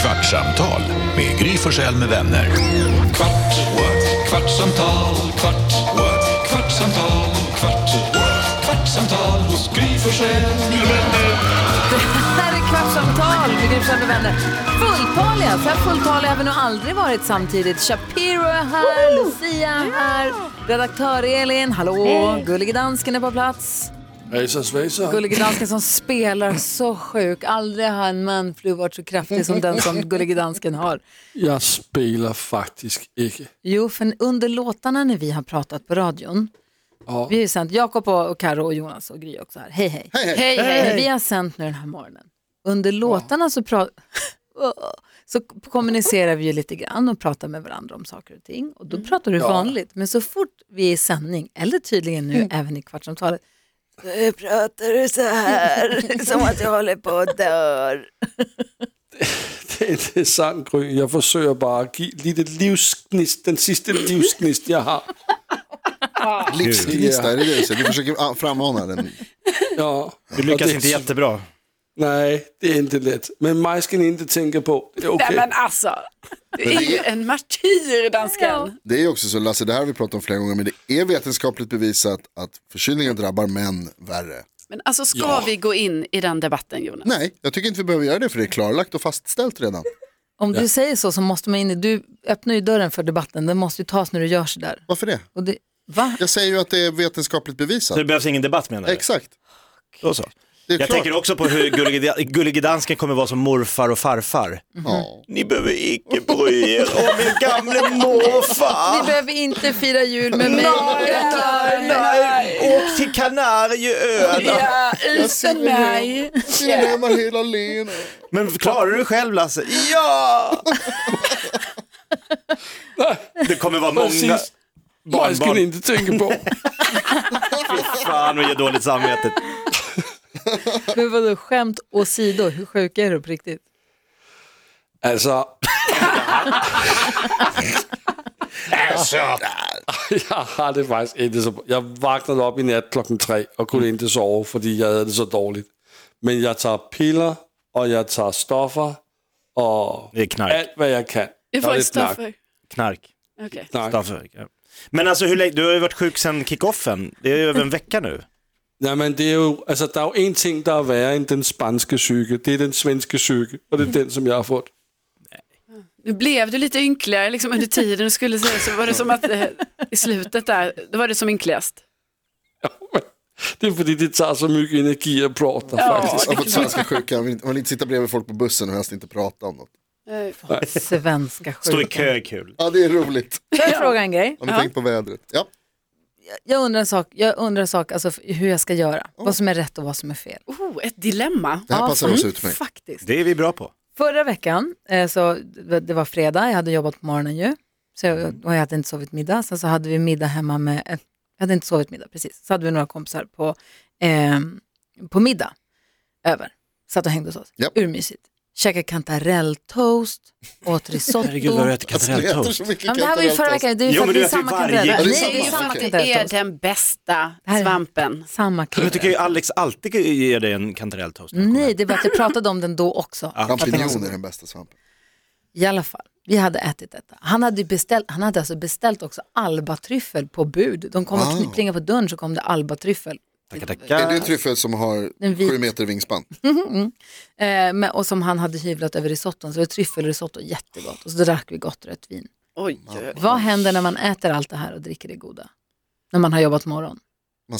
kvartsamtal med Gry Forssell med vänner. Kvart, what? kvartsamtal, kvart, what? kvartsamtal, kvart, what? kvartsamtal hos Gry Forssell med vänner. Här är Kvartsamtal med Gry Forssell med vänner. Fulltaliga, så här fulltaliga har vi nog aldrig varit samtidigt. Shapiro är här, Lucia är här, redaktör Elin, hallå, Gullige Dansken är på plats. Hejsan svejsan. Gullige Dansken som spelar så sjuk. Aldrig har en manflu varit så kraftig som den som Gullige Dansken har. Jag spelar faktiskt inte. Jo, för under låtarna när vi har pratat på radion, Ja. vi har ju sänt Jakob och och Karo och Jonas och Gry också här. Hej hej. Hej hej. Vi har sänt nu den här morgonen. Under låtarna så, pra- så kommunicerar vi ju lite grann och pratar med varandra om saker och ting. Och då pratar du vanligt. Men så fort vi är i sändning, eller tydligen nu även i kvartsamtalet, nu pratar du så här, som att jag håller på att dör. Det är inte sant Gry. Jag försöker bara ge lite livsgnist, den sista livsgnist jag har. Livsgnista, är det det du säger? Du försöker ah, frammana den. Ja. Du lyckas Och det- inte jättebra. Nej, det är inte lätt. Men mig ska ni inte tänka på. Det är okej. Nej men alltså, du är ju en martyr dansken. Det är ju också så, Lasse, det här har vi pratat om flera gånger, men det är vetenskapligt bevisat att förkylningen drabbar män värre. Men alltså ska vi gå in i den debatten Jonas? Nej, jag tycker inte vi behöver göra det, för det är klarlagt och fastställt redan. Om du säger så så måste man in i, du öppnar ju dörren för debatten, den måste ju tas när du gör sådär. Varför det? Och det, va? Jag säger ju att det är vetenskapligt Så bevisat. det behövs ingen debatt menar du? Exakt. Då så. Det är Jag klart. tänker också på hur gullige- gullige dansken kommer vara som morfar och farfar. Ja. Ni behöver icke bry er om min gamle morfar. Ni behöver inte fira jul med mig. Nej, åk till Kanarieöarna. Ja, utan mig. Sina hemma hela Lena. Men klarar du själv Lasse? Ja! Det kommer vara många Precis. Mig ska ni barnbarn. inte tänka på. Fan vad jag ger dåligt samvete. Men vadå, skämt åsido, hur sjuk är du på riktigt? Alltså, jag har det faktiskt inte så bra. Jag vaknade upp i natt klockan tre och kunde inte sova för jag hade det så dåligt. Men jag tar piller och jag tar stoffer och Det är knark. allt vad jag kan. Vi Ja, får det är ett straff för. Knark. Okej. knark. Knark. Staffel, ja. Men alltså hur länge, du har ju varit sjuk sedan kickoffen. Det är ju över en vecka nu. Nej, men det är ju, alltså, det är ju en ting där är värre än den spanska psyke. Det är den svenska psyke och det är den som jag har fått. Nu blev du lite ynkligare liksom, under tiden du skulle säga så var det som att eh, i slutet där, då var det som ynkligast. Det är för att det tar så mycket energi att prata faktiskt. Jag har fått svenska sjukan, man vill inte- man vill inte sitta bredvid folk på bussen och helst inte prata om något. Eh, Svenska Stå i sjukan. kö är kul. Ja, det är roligt. Får jag fråga en grej? Har ni tänkt på vädret? Ja. Jag undrar en sak, jag undrar en sak alltså, f- hur jag ska göra. Vad som är rätt och vad som är fel. Oh, ett dilemma. mm, Det här Ja, passar oss ut för mig. Faktiskt. Det är vi bra på. Förra veckan, eh, så, det det var fredag, jag hade jobbat på morgonen ju. Så jag, och jag hade inte sovit middag. Sen så hade vi middag hemma med, eh, jag hade inte sovit middag precis. Så hade vi några kompisar på, eh, på middag över. Satt och hängde hos oss. Japp. Urmysigt. Käkade kantarelltoast, åt risotto. ätit Alltså, det äter så mycket Ja, men det här var ju förra kantarelltoast. veckan, det är ju för Jo, att men det du är äter ju samma varje- kantarell. Ja, det är Nej, samma det är ju samma sak. Det är kantarelltoast. den bästa här är- svampen. Samma Jag tycker ju kantarell. Alex alltid ger dig en kantarelltoast. när du kommer. Nej, det är bara att jag pratade om den då också. Champinjoner är den bästa svampen. I alla fall, vi hade ätit detta. Han hade, ju beställt, han hade alltså beställt också albatryffel på bud. De kom och knypplingar på dörren så kom det albatryffel. Tackar, Är det tackar. tryffel som har En vit- sju meter vingspann? Eh, men, och som han hade hyvlat över risotton, så det var tryffelrisotto, jättegott. Och så drack vi gott rött vin. Oj, oj, oj. Vad händer när man äter allt det här och dricker det goda? När man har jobbat morgon.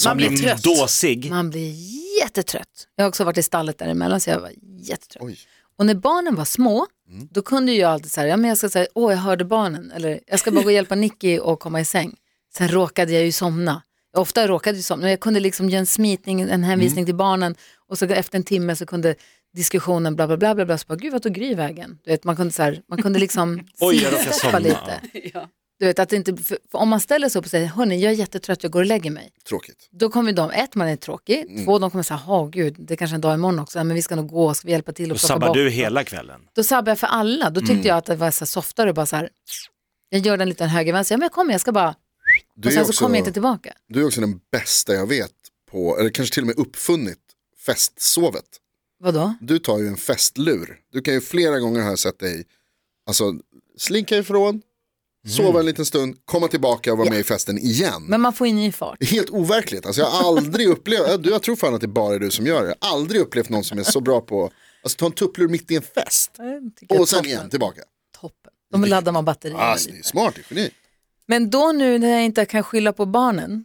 man blir Mm, trött. Dåsig. Man blir jättetrött. Jag har också varit i stallet däremellan så jag var jättetrött. Oj. Och när barnen var små, Mm. då kunde ju jag alltid säga, ja men jag ska säga, åh jag hörde barnen, eller jag ska bara gå och hjälpa Nicky att komma i säng. Sen råkade jag ju somna. Jag ofta råkade ju somna, men jag kunde liksom ge en smitning, en hänvisning Mm. till barnen och så efter en timme så kunde diskussionen bla bla bla bla, bla så bara, gud vad tog Gry vägen? Du vet, man kunde så här, man kunde liksom Oj, jag råkade sidsteppa somna. lite. Ja. Du vet, att det inte, för, för om man ställer sig upp och säger, hörni jag är jättetrött, jag går och lägger mig Tråkigt. då kommer de, ett, man är tråkig, Mm. två, de kommer säga, ha gud, det är kanske är en dag imorgon också, Nej, men vi ska nog gå, ska vi hjälpa till Då och plocka sabbar bort. du hela kvällen. Då sabbar jag för alla, då tyckte Mm. jag att det var så här softare, bara så här, jag gör den liten höger-vänster, ja men jag kommer, jag ska bara, och Du är, sen också, så kommer jag inte tillbaka. du är också den bästa jag vet på, eller kanske till och med uppfunnit, festsovet. Vadå? Du tar ju en festlur. Du kan ju flera gånger har jag sett dig Alltså slinka ifrån, sova en liten stund, komma tillbaka och vara med i festen igen. Men man får in i fart. Det är helt overkligt. Alltså, jag har aldrig upplevt, jag, jag tror fan att det bara är du som gör det. Jag har aldrig upplevt någon som är så bra på, alltså ta en tupplur mitt i en fest Jag tycker och sen toppen. igen tillbaka. Toppen. De laddar man batterierna Alltså, det är lite. smart, det är geni. Men då nu när jag inte kan skylla på barnen.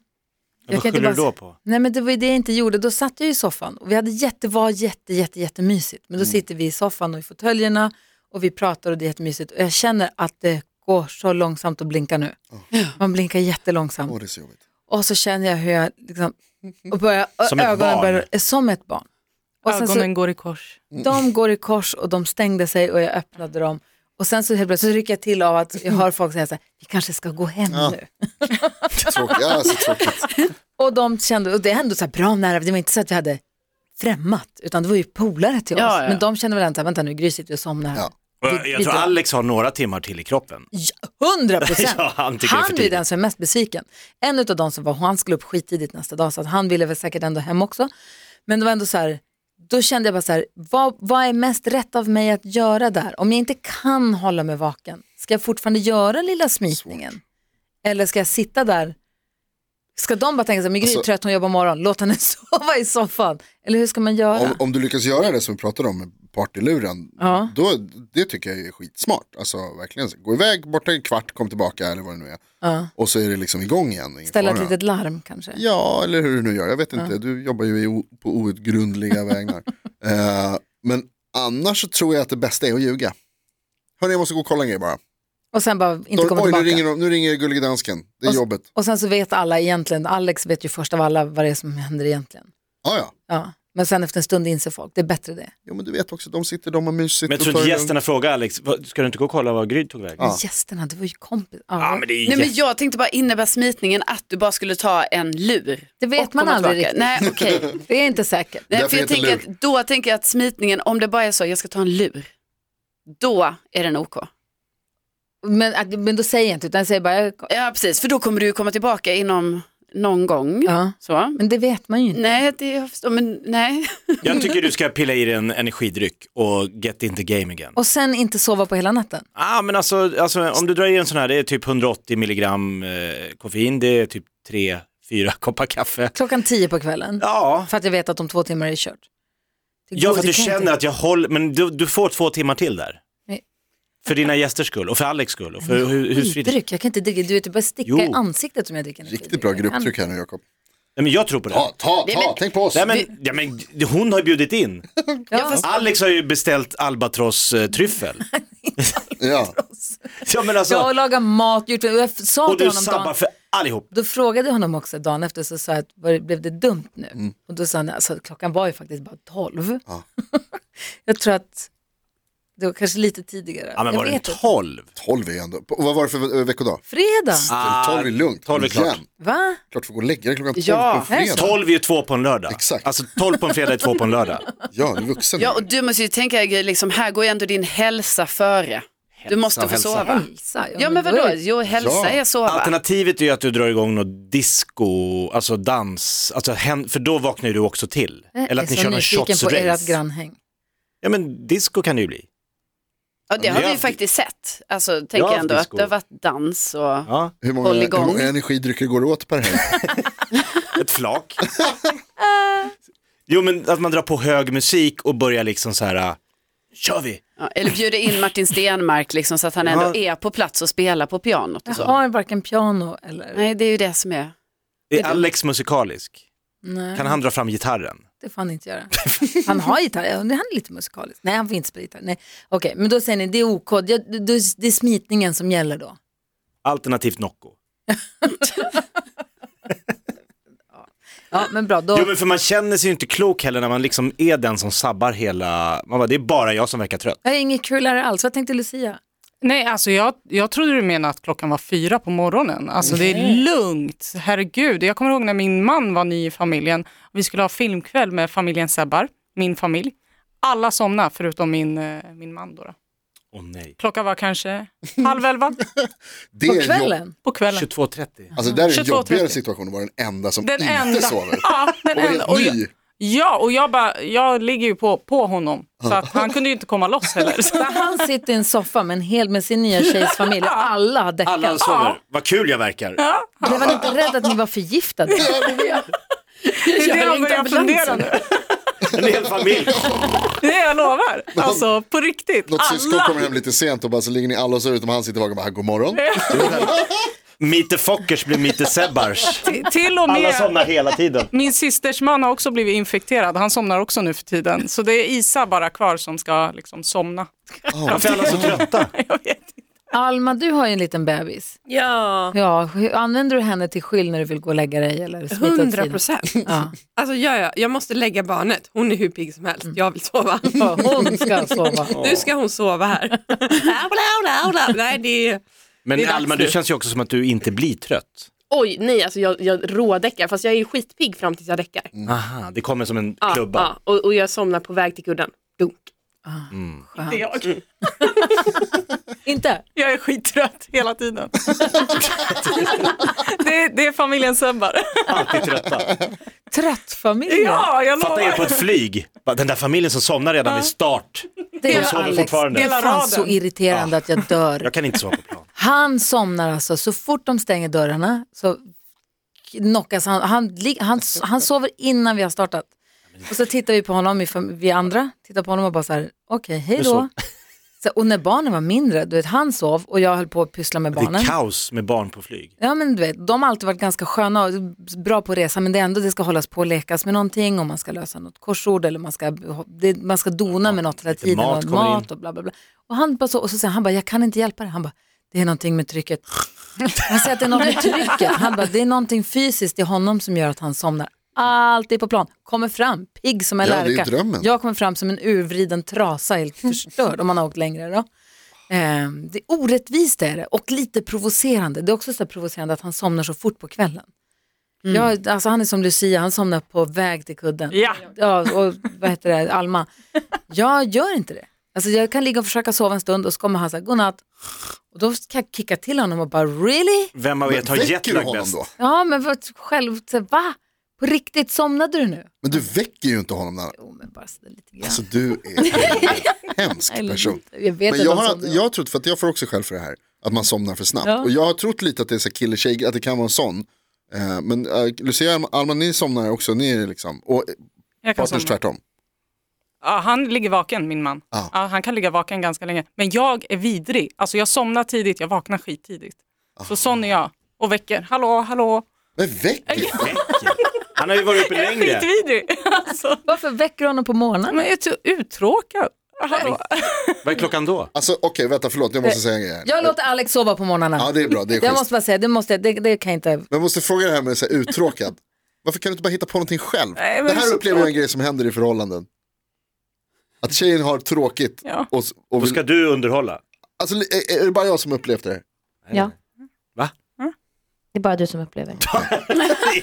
Vad kan inte skyller du bara- då på? Nej men det var ju det jag inte gjorde. Då satt jag ju i soffan och vi hade jätte, var jätte, jätte, jättemysigt. Men då Mm. sitter vi i soffan och i fåtöljerna och vi pratar och det är jättemysigt. Och jag känner att det går så långsamt att blinka nu. Man blinkar jättelångsamt. Åh, det är så jobbigt. Och så känner jag hur jag liksom, och börjar, och Som ett ögonen barn. börjar, eh, som ett barn. Och sen så, Mm. Ögonen går i kors. de går i kors och de stängde sig och jag öppnade dem. Och sen så helt plötsligt så rycker jag till av att jag hör folk säga så här, vi kanske ska gå hem nu. Tråkigt. Alltså, tråkigt. Och de kände, och det är ändå så här bra nära, det var inte så att vi hade främmat, utan det var ju polare till oss. Ja, ja. Men de kände väl ändå så här, vänta nu, Gry sitter och somnar. Ja. Och Vi- jag, jag vi tror drar. Alex har några timmar till i kroppen. Hundra procent! Ja, han tycker det är för Han är tidigt. den som är mest besviken. En av de som var, han skulle upp skittidigt nästa dag, så att han ville väl säkert ändå hem också. Men det var ändå så här, då kände jag bara så här, vad, vad är mest rätt av mig att göra där? Om jag inte kan hålla mig vaken, ska jag fortfarande göra lilla smitningen? Eller ska jag sitta där? Ska de bara tänka så här, men Gry är Alltså- trött, hon jobbar morgon, låt henne sova i soffan. Eller hur ska man göra? Om, om du lyckas göra det som vi pratade om med partyluren, Ja. då, det tycker jag är skitsmart. Alltså verkligen, gå iväg borta en kvart, kom tillbaka eller vad det nu är. Ja. Och så är det liksom igång igen. ingen Ställa ett fara. litet larm kanske? Ja, eller hur du nu gör. Jag vet inte, du jobbar ju i o- på outgrundliga vägnar. Eh, men annars så tror jag att det bästa är att ljuga. Hörni, jag måste gå och kolla en grej bara. Och sen bara inte komma Oj, nu tillbaka. ringer, de- nu ringer Gullige Dansken. Det är Och s- jobbet. Och sen så vet alla egentligen, Alex vet ju först av alla vad det är som händer egentligen. Ja, ja. Ja. Men sen efter en stund inser folk, det är bättre det. Jo, men du vet också, de sitter, de har mysigt. Men jag och tror inte tar det gästerna frågar Alex, "Vad, ska du inte gå och kolla vad Gry tog vägen? Ja. Gästerna, det var ju kompis. Ja, Ja, men det är Nej, jätte- men jag tänkte bara, innebär smitningen att du bara skulle ta en lur? Det vet och man komma aldrig tillbaka? Nej, okej. Det är inte säkert. Nej, Därför för jag heter tänker lur. att, då tänker jag att smitningen, om det bara är så, jag ska ta en lur, då är den OK. Men, att- men då säger jag inte, utan jag säger bara, jag, Ja, precis, för då kommer du ju komma tillbaka inom någon gång. ja. Så. Men det vet man ju inte. Nej, det jag förstår, men nej. Jag tycker du ska pilla i dig en energidryck och get in the game again. Och sen inte sova på hela natten. Ah, men alltså, alltså, om du drar i en sån här, det är typ 180 milligram eh, koffein, det är typ 3-4 koppar kaffe. Klockan tio på kvällen. Ja, För att jag vet att om två timmar är det kört. Det ja går- för att det du kan känner inte- att jag håller, men du, du får två timmar till där. Nej. För dina gästers skull och för Alex skull och för hu- husfriden. Nej, Dryck, jag kan inte dricka, du vet det börjar sticka Jo. i ansiktet som jag dricker. lugnt. Riktigt bra grupptryck här nu, Jakob. men jag tror på det. Ta, ta, ta, tänk på oss. Nej, men, ja, men hon har ju bjudit in. Ja, fast Alex har ju beställt albatross eh, tryffel. Ja. Ja, men alltså, jag har lagat mat, gjort, och jag sa och till du honom dagen sabbar för allihop. Då frågade jag honom också dagen efter, så sa jag, att, "Var- blev det dumt nu? Mm. Och då sa han, alltså klockan var ju faktiskt bara tolv. Ja. jag tror att det var kanske lite tidigare. Ja, men jag var den vet inte. 12? 12 är ju ändå. På- Vad var det för eh, veckodag? Fredag, Ah, 12 är lugnt. 12 är klart. Igen. va? Klart får gå och lägga dig klockan 12 Ja, på en fredag. 12 är ju två på en lördag. Exakt. Alltså 12 på en fredag är två på en lördag. Ja, du är vuxen. Ja, och du måste ju tänka, Gry, liksom, här går ju ändå din hälsa före. Du måste få hälsa. sova. Hälsa. Ja, men då vadå? är det- Jo, hälsa Ja. är sova. Alternativet är ju att du drar igång något disco, alltså dans, alltså, hen- för då vaknar ju du också till. Eh, Jag Eller är att ni så kör någon nyfiken på ert shotsrace. grannhäng. Ja men disco kan det ju bli. Ja, det har Ja, vi ju det- faktiskt sett. Alltså, Jag tänker har jag ändå haft att det har varit dans och... Ja, Hur många, Håll hur igång. många energidrycker går det åt per helg? ett flak. jo men att man drar på hög musik och börjar liksom så här, äh, kör vi? Ja, eller bjuda in Martin Stenmark liksom, så att han ändå är på plats och spelar på pianot. Jag Och så. har varken piano eller... Nej, det är ju det som är. Är Alex musikalisk? Nej, Kan han dra fram gitarren? det får han inte göra. Han har gitarr, Ja, han är lite musikalisk. Nej, han får inte spela gitarr. Nej. Okej, men då säger ni, det är OK, det, det, det är smitningen som gäller då. Alternativt Nocco. Ja, men bra, då... Jo men för man känner sig ju inte klok heller när man liksom är den som sabbar hela, man bara, det är bara jag som verkar trött. Jag är inget kulare alls, vad tänkte Lucia? Nej, alltså jag, jag trodde du menade att klockan var fyra på morgonen. Alltså det är lugnt, herregud. Jag kommer ihåg när min man var ny i familjen. Vi skulle ha filmkväll med familjen Sebbar, min familj. Alla somnade förutom min, eh, min man. Då då. Åh nej. Klockan var kanske halv elva Det På är jobb- kvällen? på kvällen. 22.30. Alltså där är en 22.30. jobbigare situation att vara den enda som Den inte enda. sover. Ja, den Och enda. Och är jag, ny. Ja, och jag, bara, jag ligger ju på, på honom. Så att han kunde ju inte komma loss heller. Så- Han sitter i en soffa med, en hel, med sin nya tjejs familj och alla har däckat. Alla sover. Vad kul jag verkar. Blev han inte rädd att ni var förgiftade? Det är det har jag ringt börjar fundera ambulansen. nu. En hel familj. Det är jag lovar. Alltså på riktigt. Något syskon Alla. kommer hem lite sent och bara så ligger ni alla så utom han sitter bakom och bara god morgon. Mite Fockers blir Mite Sebbars. Till- Till och Alla med somnar hela tiden. min systers man har också blivit infekterad. Han somnar också nu för tiden. Så det är Isa bara kvar som ska liksom somna. Varför är alla så trötta? Jag vet inte. Alma, du har ju en liten bebis. Ja, Ja, hur- använder du henne till skyll när du vill gå och lägga dig? Eller smita åt Hundra sidan? procent. Ja. Alltså gör jag, jag måste lägga barnet. Hon är hur pigg som helst. Jag vill sova. Ja, Hon ska sova. Nu ska hon sova här. Nej, det är... Men Det är dags Alma, nu. du känns ju också som att du inte blir trött. Oj, nej, alltså jag, jag rådäckar. Fast jag är skitpigg fram tills jag däckar. Aha, det kommer som en Ja, klubba. ja, och, och jag somnar på väg till kudden. Dunk. Jag, Inte? jag är skittrött hela tiden. Det, är- det är familjen Sebbar. Alltid trötta. Trött familj. Ja, jag Fatta er på lovar. ett flyg. Va, Den där familjen som somnar redan vid start. det De sover Det fortfarande. Hela är fan raden. så irriterande att jag dör. Jag kan inte sova på plan. Han somnar alltså, så fort de stänger dörrarna så knockas han. Han, lig- han, han sover innan vi har startat. Och så tittar vi på honom, i fam- vi andra tittar på honom och bara så här, okej, hej då. Så, och när barnen var mindre, du vet, han sov och jag höll på att pyssla med Det barnen. är kaos med barn på flyg. Ja men du vet, de har alltid varit ganska sköna och bra på resa men det är ändå det ska hållas på och lekas med någonting och man ska lösa något korsord eller man ska, det, man ska dona med något hela tiden. mat och kommer mat och bla bla bla. Och han bara så, och så säger han, han bara, jag kan inte hjälpa det. Han bara, det är någonting med trycket. Han säger att det är något med trycket. Han bara, det är någonting fysiskt i honom som gör att han somnar. Allt är på plan, kommer fram, pigg som en Ja, det är ju lärka. drömmen. Jag kommer fram som en urvriden trasa, helt förstörd om man har åkt längre. Då. Eh, det är orättvist är det och lite provocerande. Det är också så här provocerande att han somnar så fort på kvällen. Jag, alltså han är som Lucia, han somnar på väg till kudden. Ja. Ja, och vad heter det, Alma. Jag gör inte det. Alltså jag kan ligga och försöka sova en stund och så kommer han säga godnatt. Och då kan jag kicka till honom och bara really? Vem av er tar väcker du jetlag honom bäst? då? Ja men vad, själv, så, här, va? På riktigt, somnade du nu? Men du väcker ju inte honom när Jo men bara sådär lite grann. Alltså du är en hemsk person. Jag vet Men att jag de har, somnar. jag har trott, för att jag får också skäll för det här, att man somnar för snabbt. Ja. Och jag har trott lite att det är så här kille tjej, att det kan vara en sån. Eh, Men eh, Lucia och Alma, ni somnar också, ni är liksom, och Jag kan partners somna. tvärtom. Ja, han ligger vaken, min man. Ah. Ja, han kan ligga vaken ganska länge. Men jag är vidrig. Alltså, jag somnar tidigt, jag vaknar skittidigt. Så sån är jag. Och väcker. Hallå, hallå. Men väcker? Han har ju varit uppe Jag är längre. skitvidrig. Alltså, Varför väcker du honom på morgonen? men jag är så uttråkad. Hallå. Vad är klockan då? Alltså okej, vänta, förlåt, jag måste säga en grej här. Jag låter Alex sova på morgnarna. Ja, det är bra, det är jag schysst. måste bara säga, det, måste, jag- det, det kan jag inte... Men jag måste fråga det här med så här uttråkad. Varför kan du inte bara hitta på någonting själv? Nej, men det det är här så upplever jag är en grej som händer i förhållanden. Att tjejen har tråkigt. Ja. Och, s- och Då vill, ska du underhålla. alltså, är, är det bara jag som upplevt det här? Ja. Va? Det är bara du som upplever. Jag säger,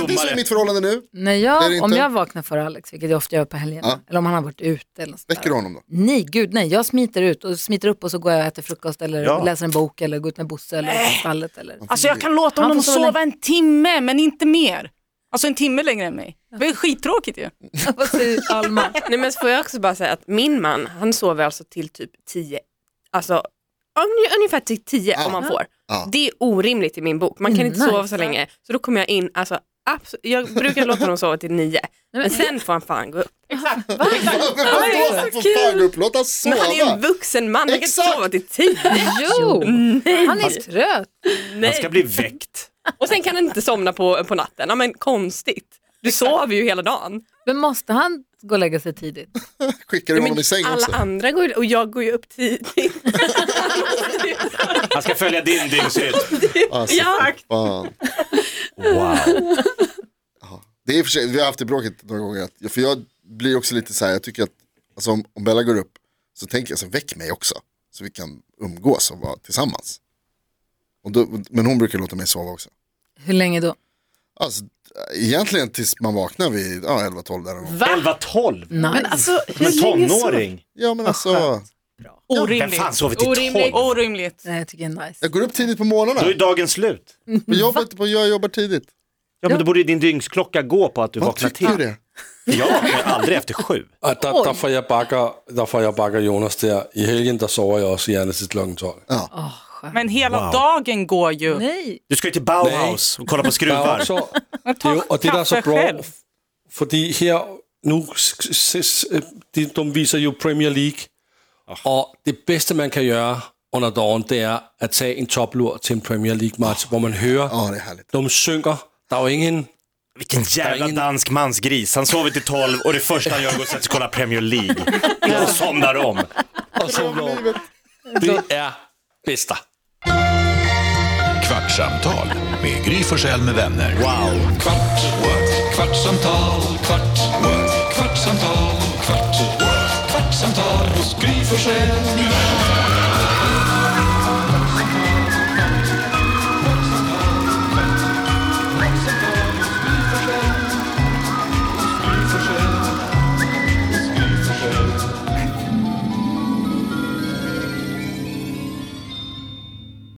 inte, det är så i mitt förhållande nu. När Det är det jag, inte. om jag vaknar före Alex, vilket jag ofta gör på helgerna, Ja. eller om han har varit ute eller något sånt Väcker där. du honom då? Nej, gud nej. Jag smiter ut och smiter upp och så går jag och äter frukost eller Ja. läser en bok eller går ut med Bosse eller åker till stallet. Eller... Alltså, jag kan låta Han honom får sova sova en timme, men inte mer. Alltså en timme längre än mig. Det är skittråkigt ju. Vad säger Alma? Nej men så får jag också bara säga att min man, han sover alltså till typ 10, alltså un- ungefär till 10 om man får. Ja. Det är orimligt i min bok, man kan inte Mm, sova nice. så länge. Så då kommer jag in, alltså abs- jag brukar låta honom sova till 9, men sen får han fan gå upp. Men vadå? Får fan gå upp, låt han Men han är ju en sova. vuxen man, han kan inte Exakt. sova till 10. Jo, han är trött. Han ska bli väckt. Och sen kan han inte somna på, på natten, ja, men konstigt. Du sover ju hela dagen. Men måste han gå och lägga sig tidigt? Skickar du honom i säng Alla också? andra går ju, och jag går ju upp tidigt. Han ska följa din dygnsrytm. Alltså, Ja. fan. Wow. Det är i och för sig, vi har haft det bråket några gånger. att- För jag blir också lite så här, jag tycker att alltså, om, om Bella går upp så tänker jag så här, väck mig också. Så vi kan umgås och vara tillsammans. Och då, men hon brukar låta mig sova också. Hur länge då? Alltså, egentligen tills man vaknar vid ja, 11-12 där någon gång. 11-12. Nice. Men alltså, hur Men länge sover- tonåring. Ja men alltså, Vem Orimligt. fan sover till 12? Orimligt. Nej, jag tycker det är nice. jag går upp tidigt på morgnarna. Då är dagen slut. Men jag, jobbar, jag jobbar tidigt. Ja, men då borde ju din dygnsklocka gå på att du Vad vaknar till. tycker du det? Jag vaknar aldrig efter sju. Og der, Oj. der, får jeg bakker, der får jeg bakker Jonas der. I helgen, der sover jeg også gerne til kl. 12. Ja. Men hela Wow. dagen går ju. Nej. Du skal jo til Bauhaus og kolde på skruvar. det er jo, og det der er så kaffe bra, selv. f- fordi her nu, s- s- s- øh, de, de viser jo Premier League, og det bedste man kan gøre under dagen, det er at tage en toplur til en Premier League-match, hvor man hører, Ah. de synker, der er jo ingen... Vilken jävla dansk mansgris. Han sover till tolv och det första han gör är att gå och sätta sig och kolla Premier League. Och somnar om. Och somnar om. Det är bästa. Kvartsamtal med Gry Forssell med vänner. Wow! Kvart, what? kvartsamtal, kvart, what? kvartsamtal, kvart,